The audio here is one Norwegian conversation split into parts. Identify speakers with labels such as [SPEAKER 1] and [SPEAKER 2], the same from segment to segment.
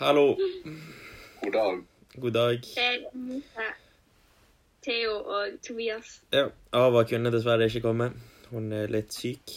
[SPEAKER 1] Hallo.
[SPEAKER 2] God dag.
[SPEAKER 1] God dag.
[SPEAKER 3] Jeg møter Theo og Tobias.
[SPEAKER 1] Ja, Ava kunne dessverre ikke komme. Hun er litt syk.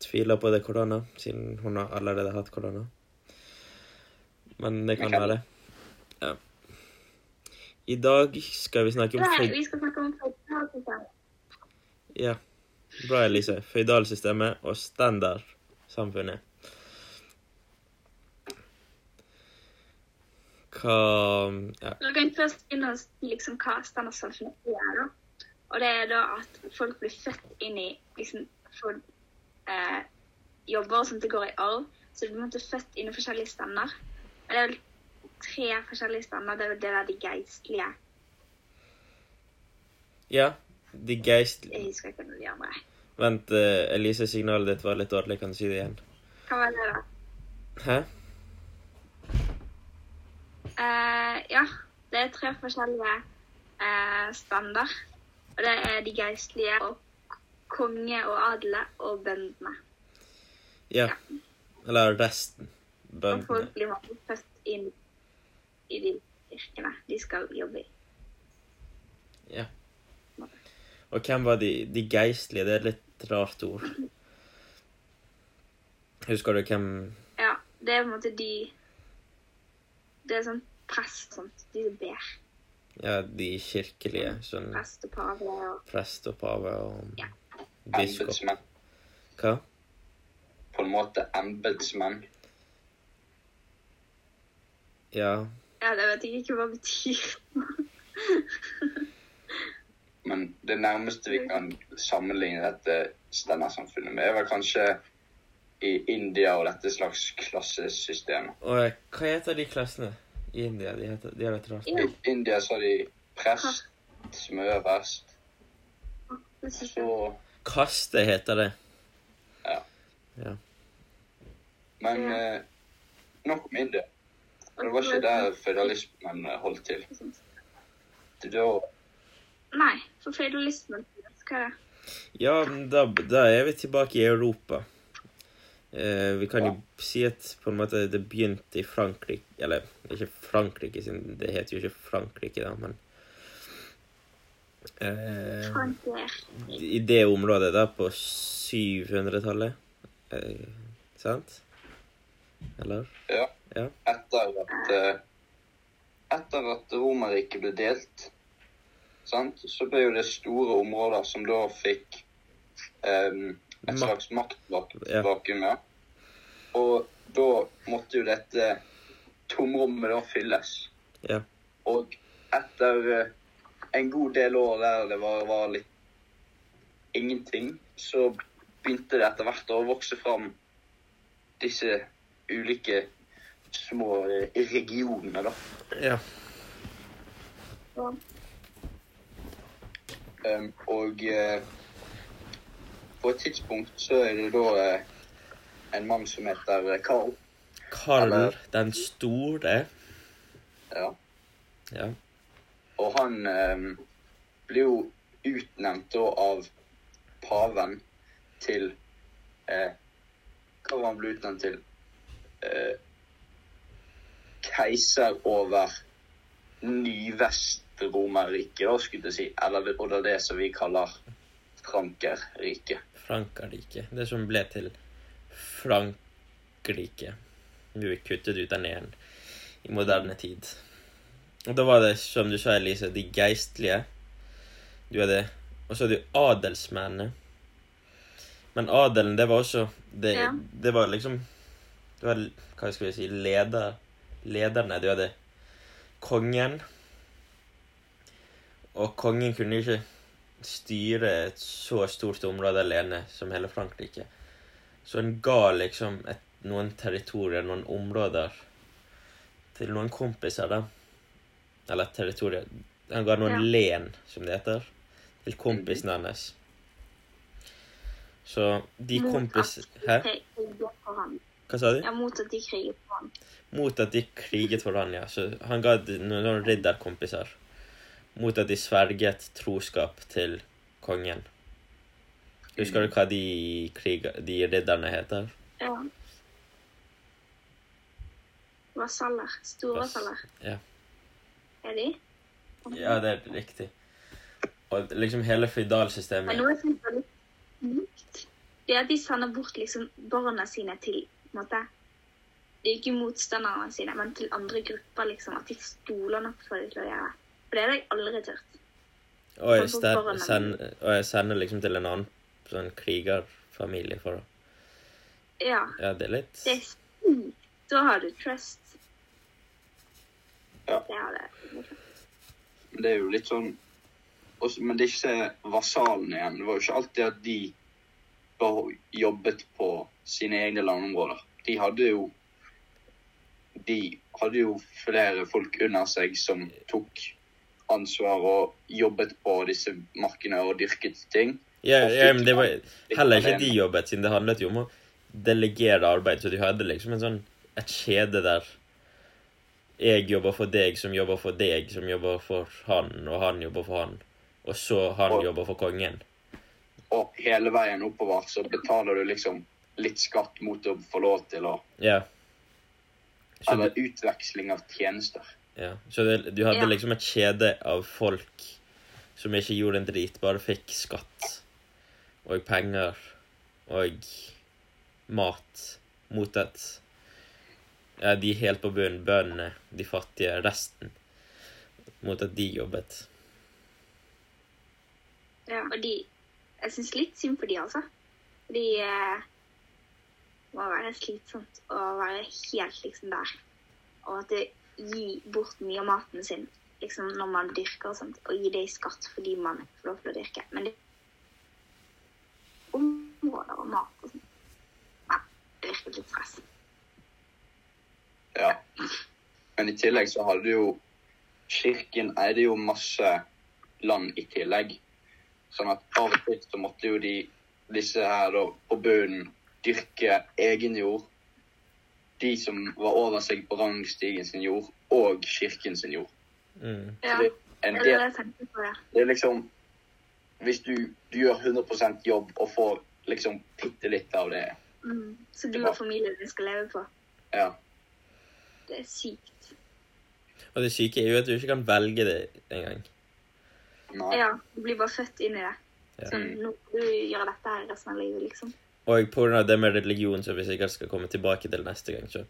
[SPEAKER 1] Tviler på det er korona, siden hun har allerede hatt korona. Men det kan
[SPEAKER 2] Ok.
[SPEAKER 1] være. Ja. I dag skal vi snakke om
[SPEAKER 3] Nei,
[SPEAKER 1] føy-
[SPEAKER 3] vi skal snakke om fødselsdager.
[SPEAKER 1] Ja. Bra, Elise. Føydalsystemet og standardsamfunnet. Hva Ja.
[SPEAKER 3] Vi kan først begynne å si liksom, hva standardsamfunnet er. da. Og det er da at folk blir født inn i liksom, for, eh, jobber som det går i arv. Så du blir på en måte født inn i forskjellige stander. Og det er vel tre forskjellige stander. Det er vel det der de geistlige
[SPEAKER 1] ja. De geist...
[SPEAKER 3] Jeg husker ikke noe av de andre.
[SPEAKER 1] Vent, eh, Elise, signalet ditt var litt dårlig. Kan du si det igjen?
[SPEAKER 3] Hva var det, da?
[SPEAKER 1] Hæ?
[SPEAKER 3] Eh, ja, det er tre forskjellige eh, stander. Og det er de geistlige og konge og adle og bøndene.
[SPEAKER 1] Ja. Eller resten.
[SPEAKER 3] Og
[SPEAKER 1] Bøndene.
[SPEAKER 3] folk blir mange født inn i de yrkene de skal jobbe i.
[SPEAKER 1] Ja. Og hvem var de, de geistlige? Det er et litt rart ord. Husker du hvem
[SPEAKER 3] Ja, det er på en måte de Det er sånn prest og sånt. De som ber.
[SPEAKER 1] Ja, de kirkelige. Sånn
[SPEAKER 3] Prest og pave og
[SPEAKER 1] prest og pave og
[SPEAKER 3] Ja.
[SPEAKER 1] biskop.
[SPEAKER 2] Embetsmenn.
[SPEAKER 1] Hva?
[SPEAKER 2] På en måte embetsmenn.
[SPEAKER 1] Ja.
[SPEAKER 3] Ja, det vet jeg ikke hva det betyr.
[SPEAKER 2] Men det nærmeste vi kan sammenligne dette standardsamfunnet med, er vel kanskje i India og dette slags klassesystem.
[SPEAKER 1] Og eh, hva heter de klassene i India? De, heter, de har et rart
[SPEAKER 2] I
[SPEAKER 1] ord.
[SPEAKER 2] India så har de prest, som er øverst,
[SPEAKER 3] Det synes jeg.
[SPEAKER 2] så
[SPEAKER 1] Kaste heter det.
[SPEAKER 2] Men
[SPEAKER 3] Ja.
[SPEAKER 2] eh, nok om India. Det
[SPEAKER 3] Og
[SPEAKER 2] var
[SPEAKER 3] så-
[SPEAKER 2] ikke der føydalismen holdt til. Det er da
[SPEAKER 3] Nei, for føydalismen Hva er det?
[SPEAKER 1] Ja, men da, da er vi tilbake i Europa. Eh, vi kan jo si at på en måte det begynte i Frankrike Eller ikke Frankrike, siden det heter jo ikke Frankrike, da, men eh,
[SPEAKER 3] Frankrike.
[SPEAKER 1] I det området, da, på 700-tallet. Eh, sant? Eller?
[SPEAKER 2] Ja.
[SPEAKER 1] Ja.
[SPEAKER 2] Etter at eh, Etter at Romerriket ble delt, sant, så ble jo det store områder som da fikk em, et
[SPEAKER 1] Ma-
[SPEAKER 2] slags maktvakuum.
[SPEAKER 1] Ja.
[SPEAKER 2] ja. Og da måtte jo dette tomrommet da fylles.
[SPEAKER 1] Ja.
[SPEAKER 2] Og etter eh, en god del år der det var, var litt ingenting, så begynte det etter hvert å vokse fram disse ulike små eh, regionene, da.
[SPEAKER 1] ja.
[SPEAKER 3] Og
[SPEAKER 2] Um, og eh, på et tidspunkt så er det da eh, en mann som heter eh, Karl.
[SPEAKER 1] Karl
[SPEAKER 2] Eller-
[SPEAKER 1] den store.
[SPEAKER 2] Ja.
[SPEAKER 1] Ja.
[SPEAKER 2] Og han eh, blir jo utnevnt da av paven til eh, Hva var han ble utnevnt til? Eh, keiser over Nyvest-Romerriket, da, skulle jeg si. Eller det- og det er det som vi kaller Frankerriket.
[SPEAKER 1] Frankrike. Det som ble til Frankrike. Vi ble kuttet ut av neden i moderne tid. Og da var det, som du sa, Elise, de geistlige. Du hadde Og så hadde du adelsmennene. Men adelen, det var også Det,
[SPEAKER 3] Ja.
[SPEAKER 1] det var liksom Det var, hva skal vi si, leder, lederne. Du hadde kongen. Og kongen kunne jo ikke styre et så stort område alene som hele Frankrike. Så han ga liksom et, noen territorier, noen områder, til noen kompiser, da. Eller territorier Han ga noen
[SPEAKER 3] Ja. Mhm.
[SPEAKER 1] len, som det heter, til kompisen hans. Så de
[SPEAKER 3] mot
[SPEAKER 1] kompis...
[SPEAKER 3] at de
[SPEAKER 1] Hæ?
[SPEAKER 3] kriger for han.
[SPEAKER 1] Hva sa du?
[SPEAKER 3] Ja, mot at de kriger for han.
[SPEAKER 1] Mot at de kriget for han, ja. Så han ga de- noen noen ridderkompiser. Mot at de sverget troskap til kongen. Husker du hva de, kriger, de ridderne heter?
[SPEAKER 3] Ja. Vasaller. Store
[SPEAKER 1] Vas-
[SPEAKER 3] vasaller.
[SPEAKER 1] ja.
[SPEAKER 3] Er de?
[SPEAKER 1] Ja, det er riktig. Og liksom hele
[SPEAKER 3] Men
[SPEAKER 1] føydalsystemet
[SPEAKER 3] noe som er litt unikt, det er at de sender bort liksom barna sine til på en måte, Det er jo ikke motstanderne sine, men til andre grupper. liksom, At de stoler nok på dem til å gjøre. For det har jeg aldri tørt.
[SPEAKER 1] Og jeg,
[SPEAKER 3] Sånn
[SPEAKER 1] ster-
[SPEAKER 3] foran en-
[SPEAKER 1] send, og jeg sender liksom til en annen sånn krigerfamilie for å
[SPEAKER 3] Ja,
[SPEAKER 1] Ja, det er litt
[SPEAKER 3] det er sykt. Da har du trust.
[SPEAKER 2] Ja.
[SPEAKER 3] Det har det.
[SPEAKER 2] Men det er jo litt sånn også, Men disse vasalene igjen Det var jo ikke alltid at de bare jobbet på sine egne landområder. De hadde jo De hadde jo flere folk under seg som tok ansvar og jobbet på disse markene og dyrket ting.
[SPEAKER 1] ja, ja, men det var heller ikke
[SPEAKER 2] alene.
[SPEAKER 1] de jobbet, siden det handlet jo om å delegere arbeid. Så de hadde liksom en sånn et kjede der jeg jobber for deg, som jobber for deg, som jobber for han, og han jobber for han. Og så han
[SPEAKER 2] Og-
[SPEAKER 1] jobber for kongen.
[SPEAKER 2] Og hele veien oppover så betaler du liksom litt skatt mot å få lov til å
[SPEAKER 1] Ja. Så
[SPEAKER 2] Eller utveksling av tjenester.
[SPEAKER 1] Ja, så det, du hadde
[SPEAKER 3] Ja.
[SPEAKER 1] liksom et kjede av folk som ikke gjorde en drit, bare fikk skatt og penger og mat mot et ja, De helt på bunnen, bøndene, de fattige, resten, mot at de jobbet.
[SPEAKER 3] Ja. Og de Jeg syns litt synd på de, altså. De eh, må være slitsomt å være helt liksom der. Og at det gir bort mye av maten sin liksom når man dyrker og sånt, og gi det i skatt fordi man får lov til å dyrke. Men det områder og mat og sånt Nei, det virker litt stress.
[SPEAKER 2] Ja. Men i tillegg så hadde jo kirken eide jo masse land i tillegg. Sånn at av og til så måtte jo de, disse her da, på bunnen dyrke egen jord. De som var over seg på rangstigen sin jord, og kirken sin jord.
[SPEAKER 1] Mm.
[SPEAKER 2] Så
[SPEAKER 3] Ja,
[SPEAKER 2] det,
[SPEAKER 3] det
[SPEAKER 2] er en
[SPEAKER 3] er det
[SPEAKER 2] del,
[SPEAKER 3] jeg tenkte på, ja.
[SPEAKER 2] det er liksom Hvis du, du gjør 100 jobb og får liksom bitte litt av det
[SPEAKER 3] Mm. Så du og familien din skal leve på.
[SPEAKER 2] Ja.
[SPEAKER 3] Det er sykt.
[SPEAKER 1] Og det syke er jo at du ikke kan velge det engang.
[SPEAKER 2] Nei.
[SPEAKER 3] Ja, du blir bare født inn i det.
[SPEAKER 1] Ja.
[SPEAKER 3] Sånn, nå må du gjøre dette her resten av livet, liksom.
[SPEAKER 1] Og på grunn av det med religion, som vi sikkert skal komme tilbake til neste gang, så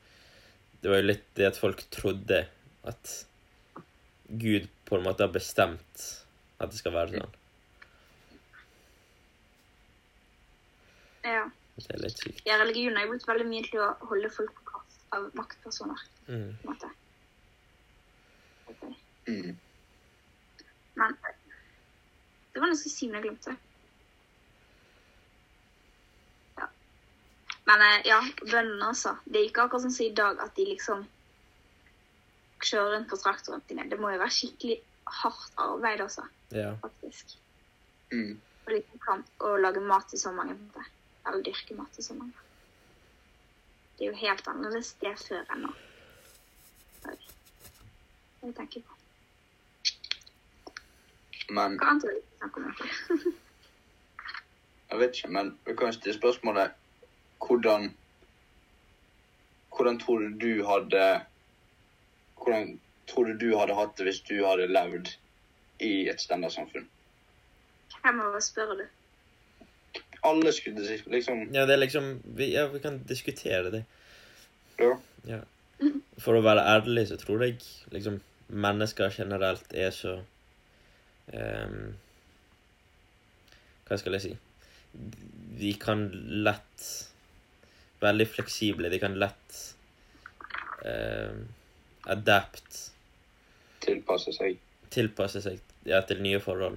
[SPEAKER 1] det var jo litt det at folk trodde at Gud på en måte har bestemt at det skal være sånn.
[SPEAKER 3] Ja.
[SPEAKER 1] Det er litt sykt.
[SPEAKER 3] ja religion har jo blitt veldig mye til å holde folk på kast av maktpersoner,
[SPEAKER 1] Mm.
[SPEAKER 3] på en måte. Ok.
[SPEAKER 2] Mm.
[SPEAKER 3] Men det var noe som Simen glemte. Ja. Men eh, ja, bøndene også. Det er ikke akkurat sånn som i dag at de liksom kjører rundt på traktorene sine. Det må jo være skikkelig hardt arbeid også,
[SPEAKER 1] Ja.
[SPEAKER 3] faktisk.
[SPEAKER 2] Mm.
[SPEAKER 3] Og liksom kan å lage mat til så mange. på en måte. Eller dyrke mat til så mange. Det er jo helt annerledes det før enn nå. Oi. Jeg tenker på.
[SPEAKER 2] Men
[SPEAKER 3] Hva annet vil du snakke om? egentlig?
[SPEAKER 2] Jeg vet ikke, men vi kan jo stille spørsmålet hvordan Hvordan tror du du hadde Hvordan tror du du hadde hatt det hvis du hadde levd i et standardsamfunn?
[SPEAKER 3] Hvem av oss spør du?
[SPEAKER 2] Alle skulle si liksom
[SPEAKER 1] ja, det er liksom vi, Ja, vi kan diskutere det.
[SPEAKER 2] Ja.
[SPEAKER 1] Ja. For å være ærlig så tror jeg liksom mennesker generelt er så ehm, Hva skal jeg si De kan lett Veldig fleksible. De kan lett ehm, adapt
[SPEAKER 2] tilpasse seg.
[SPEAKER 1] tilpasse seg ja, til nye forhold.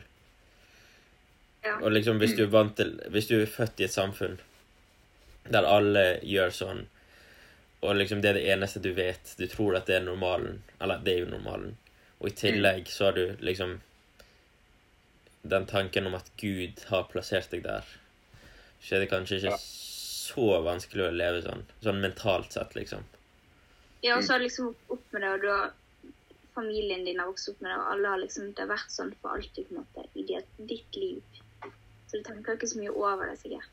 [SPEAKER 3] Ja.
[SPEAKER 1] Og liksom hvis du er vant til Hvis du er født i et samfunn der alle gjør sånn, og liksom det er det eneste du vet Du tror at det er normalen. Eller det er jo normalen. Og i tillegg så har du liksom den tanken om at Gud har plassert deg der. Så er det kanskje ikke
[SPEAKER 2] Ja.
[SPEAKER 1] så vanskelig å leve sånn. Sånn mentalt sett, liksom.
[SPEAKER 3] Ja, og så har du liksom vokst opp med det, og du har familien din har vokst opp med det, og alle har liksom Det har vært sånn for alltid, på en måte, i det, ditt liv. Så du tenker ikke så mye over det, sikkert.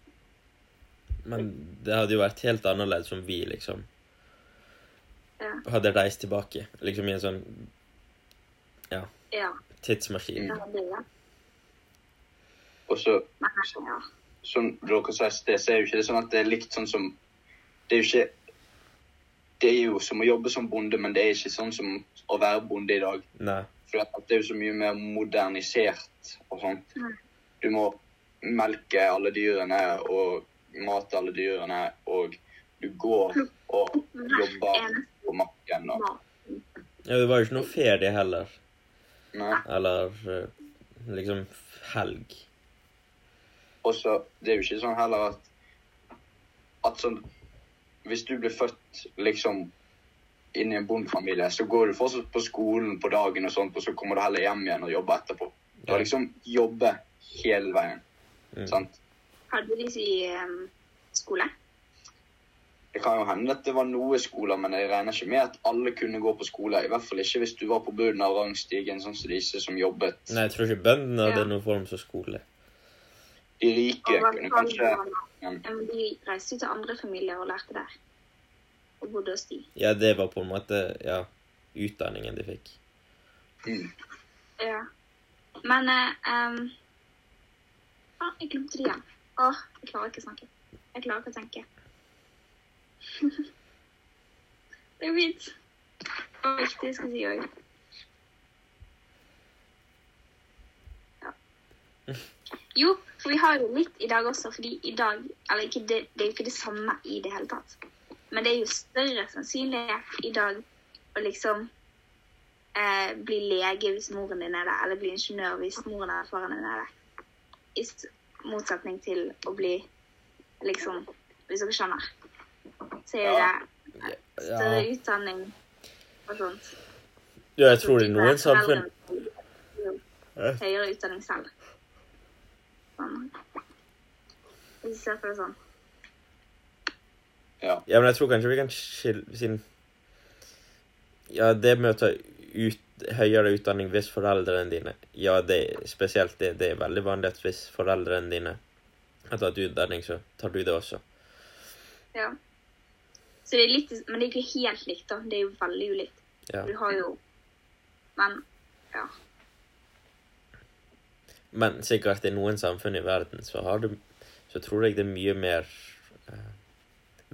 [SPEAKER 1] Men det hadde jo vært helt annerledes om vi liksom
[SPEAKER 3] Ja.
[SPEAKER 1] hadde reist tilbake. Liksom i en sånn
[SPEAKER 3] Ja,
[SPEAKER 1] tidsmaskin.
[SPEAKER 3] det hadde det.
[SPEAKER 2] Og så,
[SPEAKER 3] Men ja.
[SPEAKER 2] som dere sa i sted, så er jo ikke det sånn at det er likt sånn som Det er jo ikke Det er jo som å jobbe som bonde, men det er ikke sånn som å være bonde i dag.
[SPEAKER 1] Nei.
[SPEAKER 2] For at det er jo så mye mer modernisert og sånt.
[SPEAKER 3] Mm.
[SPEAKER 2] Du må melke alle dyrene og mate alle dyrene, og du går og jobber
[SPEAKER 3] Hver
[SPEAKER 2] på marken og
[SPEAKER 3] mat.
[SPEAKER 1] Ja, det var jo ikke noe ferie heller.
[SPEAKER 2] Nei.
[SPEAKER 1] Eller eh, liksom helg.
[SPEAKER 2] Og så, det er jo ikke sånn heller at At sånn Hvis du blir født liksom inn i en bondefamilie, så går du fortsatt på skolen på dagen og sånt, og så kommer du heller hjem igjen og jobber etterpå. Du har liksom jobber hele veien.
[SPEAKER 1] Mm.
[SPEAKER 2] Sant?
[SPEAKER 3] Hadde de så i em, skole?
[SPEAKER 2] Det kan jo hende at det var noe skoler, men jeg regner ikke med at alle kunne gå på skole. I hvert fall ikke hvis du var på bunnen av rangstigen, sånn som disse som jobbet.
[SPEAKER 1] Nei, jeg tror ikke bøndene hadde
[SPEAKER 3] Ja.
[SPEAKER 1] noen form for skole.
[SPEAKER 2] De rike
[SPEAKER 3] Og
[SPEAKER 2] kunne
[SPEAKER 3] hva-
[SPEAKER 2] kanskje
[SPEAKER 3] Ja, men De reiste jo til andre familier og lærte der. Og bodde hos de.
[SPEAKER 1] Ja, det var på en måte ja, utdanningen de fikk.
[SPEAKER 2] mm,
[SPEAKER 3] Ja. Men eh, em, ah, Jeg glemte det igjen. Åh, jeg klarer ikke å snakke. Jeg klarer ikke å tenke. det er fint. Det var viktig, skal jeg si òg. Ja. Jo, for vi har jo litt i dag også, fordi i dag Eller ikke det, det er jo ikke det samme i det hele tatt. Men det er jo større sannsynlighet i dag å liksom eh, bli lege hvis moren din er det, eller bli ingeniør hvis moren eller faren din er det. I s- motsetning til å bli liksom Hvis dere skjønner. Så er
[SPEAKER 2] Ja.
[SPEAKER 3] det større
[SPEAKER 1] Ja,
[SPEAKER 3] utdanning og sånt.
[SPEAKER 1] ja jeg tror det er noen samfunn
[SPEAKER 3] Foreldrene har Høyere utdanning selv. Sånn. Hvis du ser på det sånn.
[SPEAKER 2] ja.
[SPEAKER 1] Ja, men jeg tror kanskje vi kan skille Siden Ja, det møter ut, høyere utdanning hvis foreldrene dine Ja, det, spesielt det, det er veldig vanlig at hvis foreldrene dine har tatt utdanning, så tar du det også.
[SPEAKER 3] Ja. Så det er litt, men det er ikke helt likt, da. Det er jo veldig ulikt.
[SPEAKER 1] Ja.
[SPEAKER 3] Du har jo Men ja.
[SPEAKER 1] Men sikkert i noen samfunn i verden så har du Så tror jeg det er mye mer eh,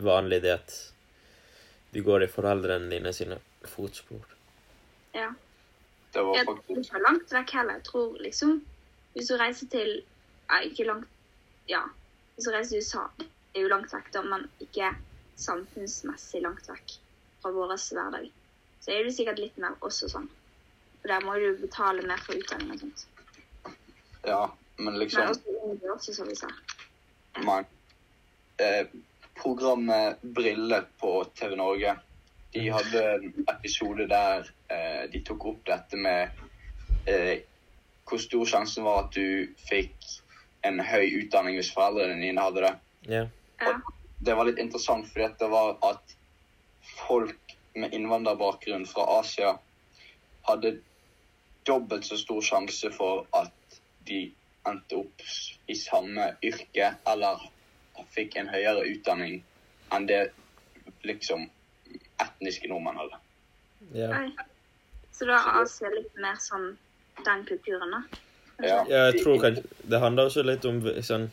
[SPEAKER 1] vanlig det at du går i foreldrene dine sine fotspor.
[SPEAKER 3] ja.
[SPEAKER 2] Det var
[SPEAKER 3] Jeg tror
[SPEAKER 2] faktisk
[SPEAKER 3] ikke langt vekk heller. Jeg tror liksom Hvis du reiser til ja, Ikke langt Ja. Hvis du reiser til USA, det er jo langt vekk, da, men ikke samfunnsmessig langt vekk fra vår hverdag. Så er det sikkert litt mer også sånn. For der må du betale mer for utdanning og sånt.
[SPEAKER 2] Ja, men
[SPEAKER 3] Men
[SPEAKER 2] liksom
[SPEAKER 3] også India også, som vi sa. altså-
[SPEAKER 2] Nei. Eh, programmet Brille på TV Norge, de hadde en episode der eh, de tok opp dette med eh, hvor stor sjansen var at du fikk en høy utdanning hvis foreldrene dine hadde det.
[SPEAKER 1] Ja.
[SPEAKER 3] Ja.
[SPEAKER 2] Det var litt interessant, fordi at det var at folk med innvandrerbakgrunn fra Asia hadde dobbelt så stor sjanse for at de endte opp s- i samme yrke eller fikk en høyere utdanning enn det liksom etniske nordmenn hadde.
[SPEAKER 1] ja.
[SPEAKER 3] Oi. Så da er Asia litt mer sånn den kulturen, da.
[SPEAKER 2] Ja.
[SPEAKER 1] Ja, jeg tror kanskje Det handler også litt om v- sånn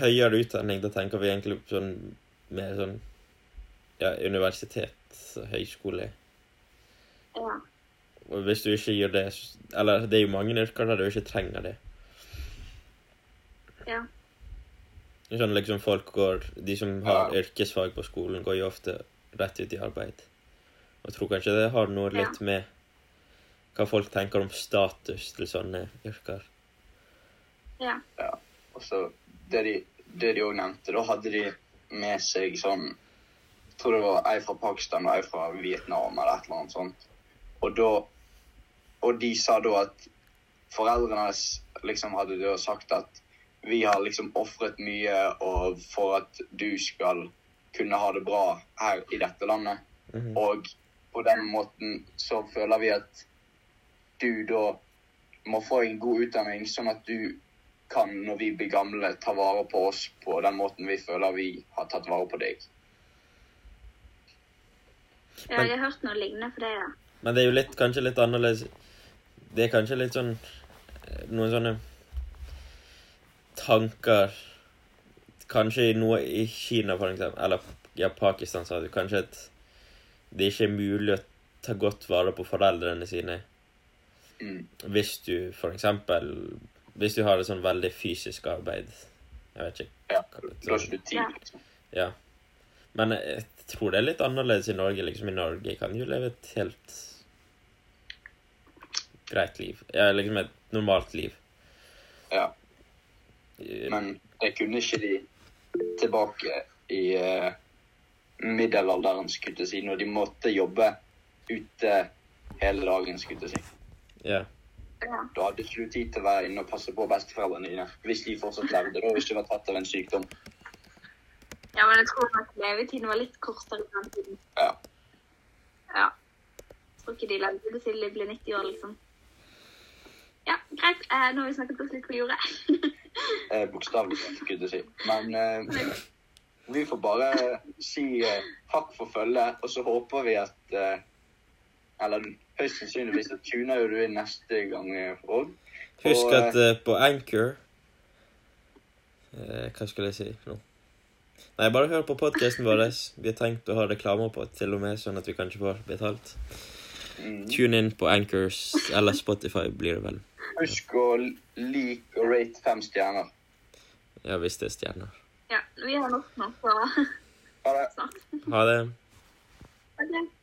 [SPEAKER 1] høyere utdanning. Da tenker vi egentlig på sånn mer sånn ja, universitet, høyskole.
[SPEAKER 3] Ja.
[SPEAKER 1] Og hvis du ikke gjør det s- Eller det er jo mange yrker der du ikke trenger det.
[SPEAKER 3] ja.
[SPEAKER 1] Sånn liksom folk går De som har
[SPEAKER 2] Ja.
[SPEAKER 1] yrkesfag på skolen, går jo ofte rett ut i arbeid. Og jeg tror kanskje det har noe litt med hva folk tenker om status til sånne yrker.
[SPEAKER 3] ja.
[SPEAKER 2] Og så det de det de òg nevnte, da hadde de med seg sånn Jeg tror det var ei fra Pakistan og ei fra Vietnam eller et eller annet sånt. Og da Og de sa da at foreldrene hans liksom hadde da sagt at vi har liksom ofret mye og for at du skal kunne ha det bra her i dette landet.
[SPEAKER 1] Mhm.
[SPEAKER 2] Og på den måten så føler vi at du da må få en god utdanning, sånn at du kan, når vi blir gamle, ta vare på oss på den måten vi føler vi har tatt vare på deg.
[SPEAKER 3] Ja, jeg har hørt noe lignende på det, ja.
[SPEAKER 1] Men det er jo litt, kanskje litt annerledes Det er kanskje litt sånn eh, Noen sånne tanker Kanskje i noe i Kina, for eksempel, eller ja, Pakistan, sa du. Kanskje at det ikke er mulig å ta godt vare på foreldrene sine
[SPEAKER 2] Mm.
[SPEAKER 1] hvis du for eksempel Hvis du har et sånn veldig fysisk arbeid. Jeg vet ikke.
[SPEAKER 2] Ja, da har ikke du
[SPEAKER 3] Ja.
[SPEAKER 2] tid, liksom.
[SPEAKER 1] Ja. Men jeg tror det er litt annerledes i Norge. liksom I Norge kan du jo leve et helt greit liv. Ja, liksom et normalt liv.
[SPEAKER 2] Ja.
[SPEAKER 1] Eh,
[SPEAKER 2] Men det kunne ikke de tilbake i eh, middelalderen, skulle jeg si, når de måtte jobbe ute hele dagen, skulle jeg si.
[SPEAKER 1] Ja.
[SPEAKER 3] ja.
[SPEAKER 2] Da hadde ikke du tid til å være inne og passe på besteforeldrene dine, hvis de fortsatt levde da, og ikke var tatt av en sykdom.
[SPEAKER 3] Ja, men jeg tror at levetiden var litt kortere i den tiden.
[SPEAKER 2] Ja.
[SPEAKER 3] Ja. Jeg tror ikke de levde det til de ble 90 år, liksom. Ja, greit. Eh, nå har vi snakket oss litt på jordet.
[SPEAKER 2] Eh, Bokstavelig talt, skulle jeg si. Men eh, vi får bare si eh, takk for følget, og så håper vi at eh, Eller høyst sannsynligvis så tuner jo du inn neste gang òg.
[SPEAKER 1] Husk
[SPEAKER 2] Og,
[SPEAKER 1] at eh, på Anchor eh, Hva skulle jeg si nå? Nei, bare hør på podkasten vår. Vi har tenkt å ha reklamer på til og med, sånn at vi kanskje får betalt.
[SPEAKER 2] Mm.
[SPEAKER 1] Tune inn på Anchors eller Spotify, blir det vel.
[SPEAKER 2] Husk å like og rate fem stjerner.
[SPEAKER 1] Ja, hvis det er stjerner.
[SPEAKER 3] Ja, vi har nok nå, så
[SPEAKER 2] Ha det.
[SPEAKER 3] snart.
[SPEAKER 1] Ha det.
[SPEAKER 3] Ok.